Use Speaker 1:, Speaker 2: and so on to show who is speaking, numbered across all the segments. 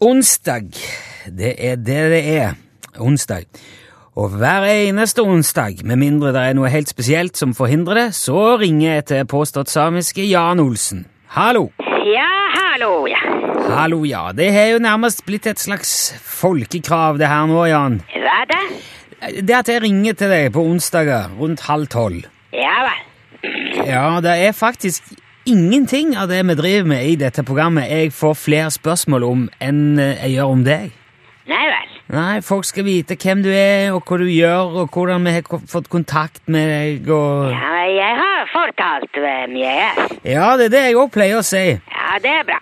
Speaker 1: Onsdag. Det er det det er. Onsdag. Og hver eneste onsdag, med mindre det er noe helt spesielt som forhindrer det, så ringer jeg til påstått samiske Jan Olsen. Hallo.
Speaker 2: Ja, hallo, ja.
Speaker 1: Hallo, ja. Det har jo nærmest blitt et slags folkekrav, det her nå, Jan.
Speaker 2: Hva da?
Speaker 1: Det at jeg ringer til deg på onsdager rundt halv tolv.
Speaker 2: Ja vel.
Speaker 1: Ja, det er faktisk ingenting av det vi driver med i dette programmet jeg får flere spørsmål om enn eh, jeg gjør om deg.
Speaker 2: Nei vel.
Speaker 1: Nei, folk skal vite hvem du er, og hva du gjør, og hvordan vi har ko- fått kontakt med deg, og
Speaker 2: Ja, men jeg har fortalt hvem jeg er.
Speaker 1: Ja, det er det jeg òg pleier å si.
Speaker 2: Ja, det er bra.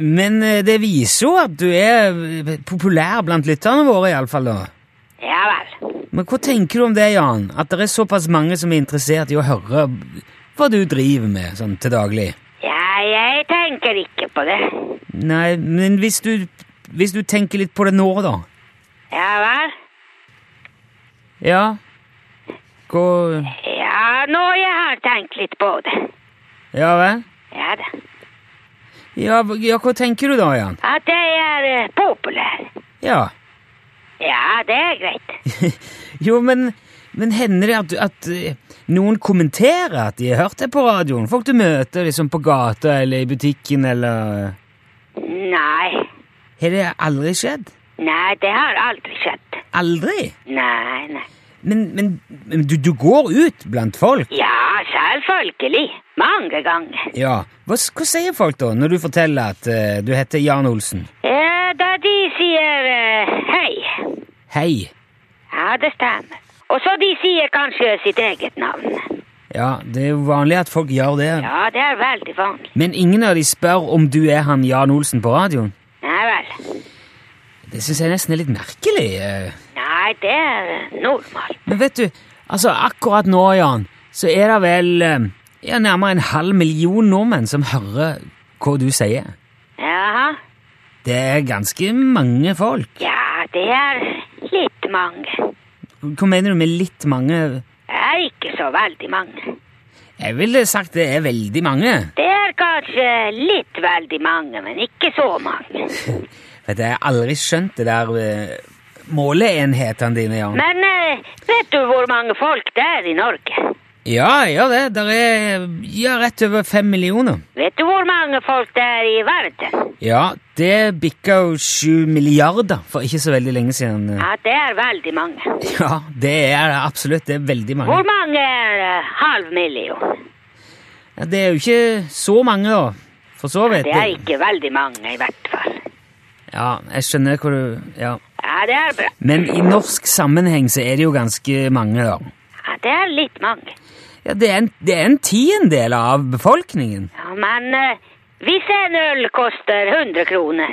Speaker 1: Men eh, det viser jo at du er eh, populær blant lytterne våre, iallfall.
Speaker 2: Ja vel.
Speaker 1: Men hva tenker du om det, Jan? At det er såpass mange som er interessert i å høre hva du driver med sånn til daglig?
Speaker 2: Ja, jeg tenker ikke på det.
Speaker 1: Nei, men hvis du, hvis du tenker litt på det nå, da?
Speaker 2: Ja vel.
Speaker 1: Ja? Hva
Speaker 2: Ja, nå jeg har tenkt litt på det.
Speaker 1: Ja vel?
Speaker 2: Ja da.
Speaker 1: Ja, hva- ja, hva tenker du da, Jan?
Speaker 2: At jeg er eh, populær.
Speaker 1: Ja.
Speaker 2: Ja, det er greit.
Speaker 1: Jo, men, men hender det at, du- at eh, noen kommenterer at de har hørt deg på radioen? Folk du møter liksom på gata eller i butikken eller eh,
Speaker 2: Nei.
Speaker 1: Har det aldri skjedd?
Speaker 2: Nei, det har aldri skjedd.
Speaker 1: Aldri?
Speaker 2: Nei, nei.
Speaker 1: Men, men, men du, du går ut blant folk?
Speaker 2: Ja, selvfølgelig. Mange ganger.
Speaker 1: Ja. Hva, s- hva sier folk da, når du forteller at eh, du heter Jan Olsen?
Speaker 2: Ja, da de sier eh, hei.
Speaker 1: Hei.
Speaker 2: Ja, det stemmer. Og så de sier kanskje sitt eget navn.
Speaker 1: Ja, det er jo vanlig at folk gjør det.
Speaker 2: Ja, det er veldig vanlig.
Speaker 1: Men ingen av de spør om du er han Jan Olsen på radioen?
Speaker 2: Nei vel.
Speaker 1: Det syns jeg nesten er litt merkelig. eh.
Speaker 2: Nei, det er eh, normalt.
Speaker 1: Men vet du, altså akkurat nå, Jan, så er det vel eh, ja, nærmere en halv million nordmenn som hører hva du sier.
Speaker 2: Jaha.
Speaker 1: Det er ganske mange folk.
Speaker 2: Ja, det er litt mange.
Speaker 1: Hva mener du med litt mange?
Speaker 2: Det er ikke så veldig mange.
Speaker 1: Jeg ville sagt det er veldig mange.
Speaker 2: Det er kanskje litt veldig mange, men ikke så mange.
Speaker 1: Vet du, jeg har aldri skjønt det der eh, måleenhetene dine, Jan.
Speaker 2: Men eh, vet du hvor mange folk det er i Norge?
Speaker 1: Ja, jeg gjør det. Der er ja, rett over fem millioner.
Speaker 2: Vet du hvor mange folk det er i verden?
Speaker 1: Ja, det bikka jo sju milliarder for ikke så veldig lenge siden.
Speaker 2: Ja, det er veldig mange.
Speaker 1: Ja, det er det absolutt. Det er veldig mange.
Speaker 2: Hvor mange er eh, halv million?
Speaker 1: Ja, det er jo ikke så mange, da. For så vidt.
Speaker 2: Det er ikke veldig mange, i hvert fall.
Speaker 1: Ja, jeg skjønner hvor du Ja.
Speaker 2: Ja, det er bra.
Speaker 1: Men i norsk sammenheng så er det jo ganske mange, da.
Speaker 2: Ja, det er litt mange.
Speaker 1: Ja, det er en, det er en tiendedel av befolkningen.
Speaker 2: Ja, men eh, hvis en øl koster 100 kroner,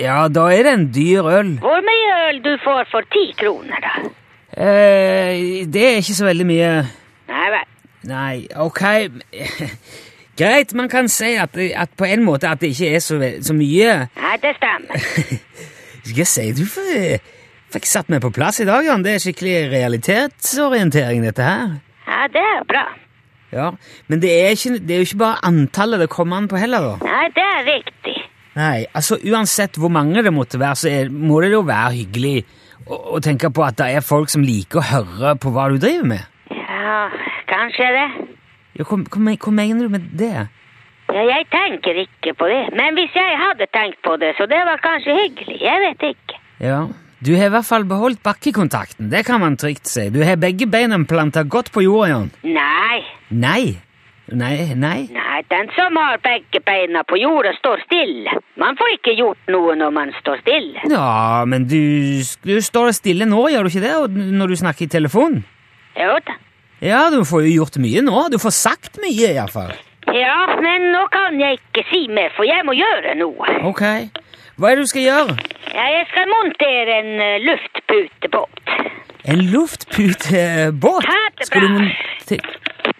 Speaker 1: Ja, da er det en dyr øl.
Speaker 2: hvor mye øl du får for 10 kroner, da?
Speaker 1: Eh, det er ikke så veldig mye
Speaker 2: Nei vel.
Speaker 1: Nei, ok Greit, man kan si at, at på en måte at det ikke er så, ve- så mye
Speaker 2: Nei, det stemmer.
Speaker 1: Skal jeg si, du får- fikk satt meg på plass i dag, Jan. Det er skikkelig realitetsorientering, dette her.
Speaker 2: Ja, det er bra.
Speaker 1: Ja, Men det er, ikke, det er jo ikke bare antallet det kommer an på heller, da.
Speaker 2: Nei, det er riktig.
Speaker 1: Nei, altså Uansett hvor mange det måtte være, så er, må det jo være hyggelig å, å tenke på at det er folk som liker å høre på hva du driver med.
Speaker 2: Ja, kanskje det.
Speaker 1: Ja, hva, hva, men- hva mener du med det?
Speaker 2: Ja, jeg tenker ikke på det. Men hvis jeg hadde tenkt på det, så det var kanskje hyggelig. Jeg vet ikke.
Speaker 1: Ja, Du har i hvert fall beholdt bakkekontakten, det kan man trygt si. Du har begge beina planta godt på jorda, Jan.
Speaker 2: Nei,
Speaker 1: Nei. Nei, nei.
Speaker 2: nei, den som har begge beina på jorda, står stille. Man får ikke gjort noe når man står stille.
Speaker 1: Ja, men du, du står stille nå, gjør du ikke det, og når du snakker i telefonen?
Speaker 2: Jo da.
Speaker 1: Ja, du får jo gjort mye nå. Du får sagt mye, iallfall.
Speaker 2: Ja, men nå kan jeg ikke si mer, for jeg må gjøre noe.
Speaker 1: Ok. Hva er det du skal gjøre?
Speaker 2: Ja, jeg skal montere en eh, luftputebåt.
Speaker 1: En luftputebåt?
Speaker 2: Ha det bra.
Speaker 1: Skal du monte-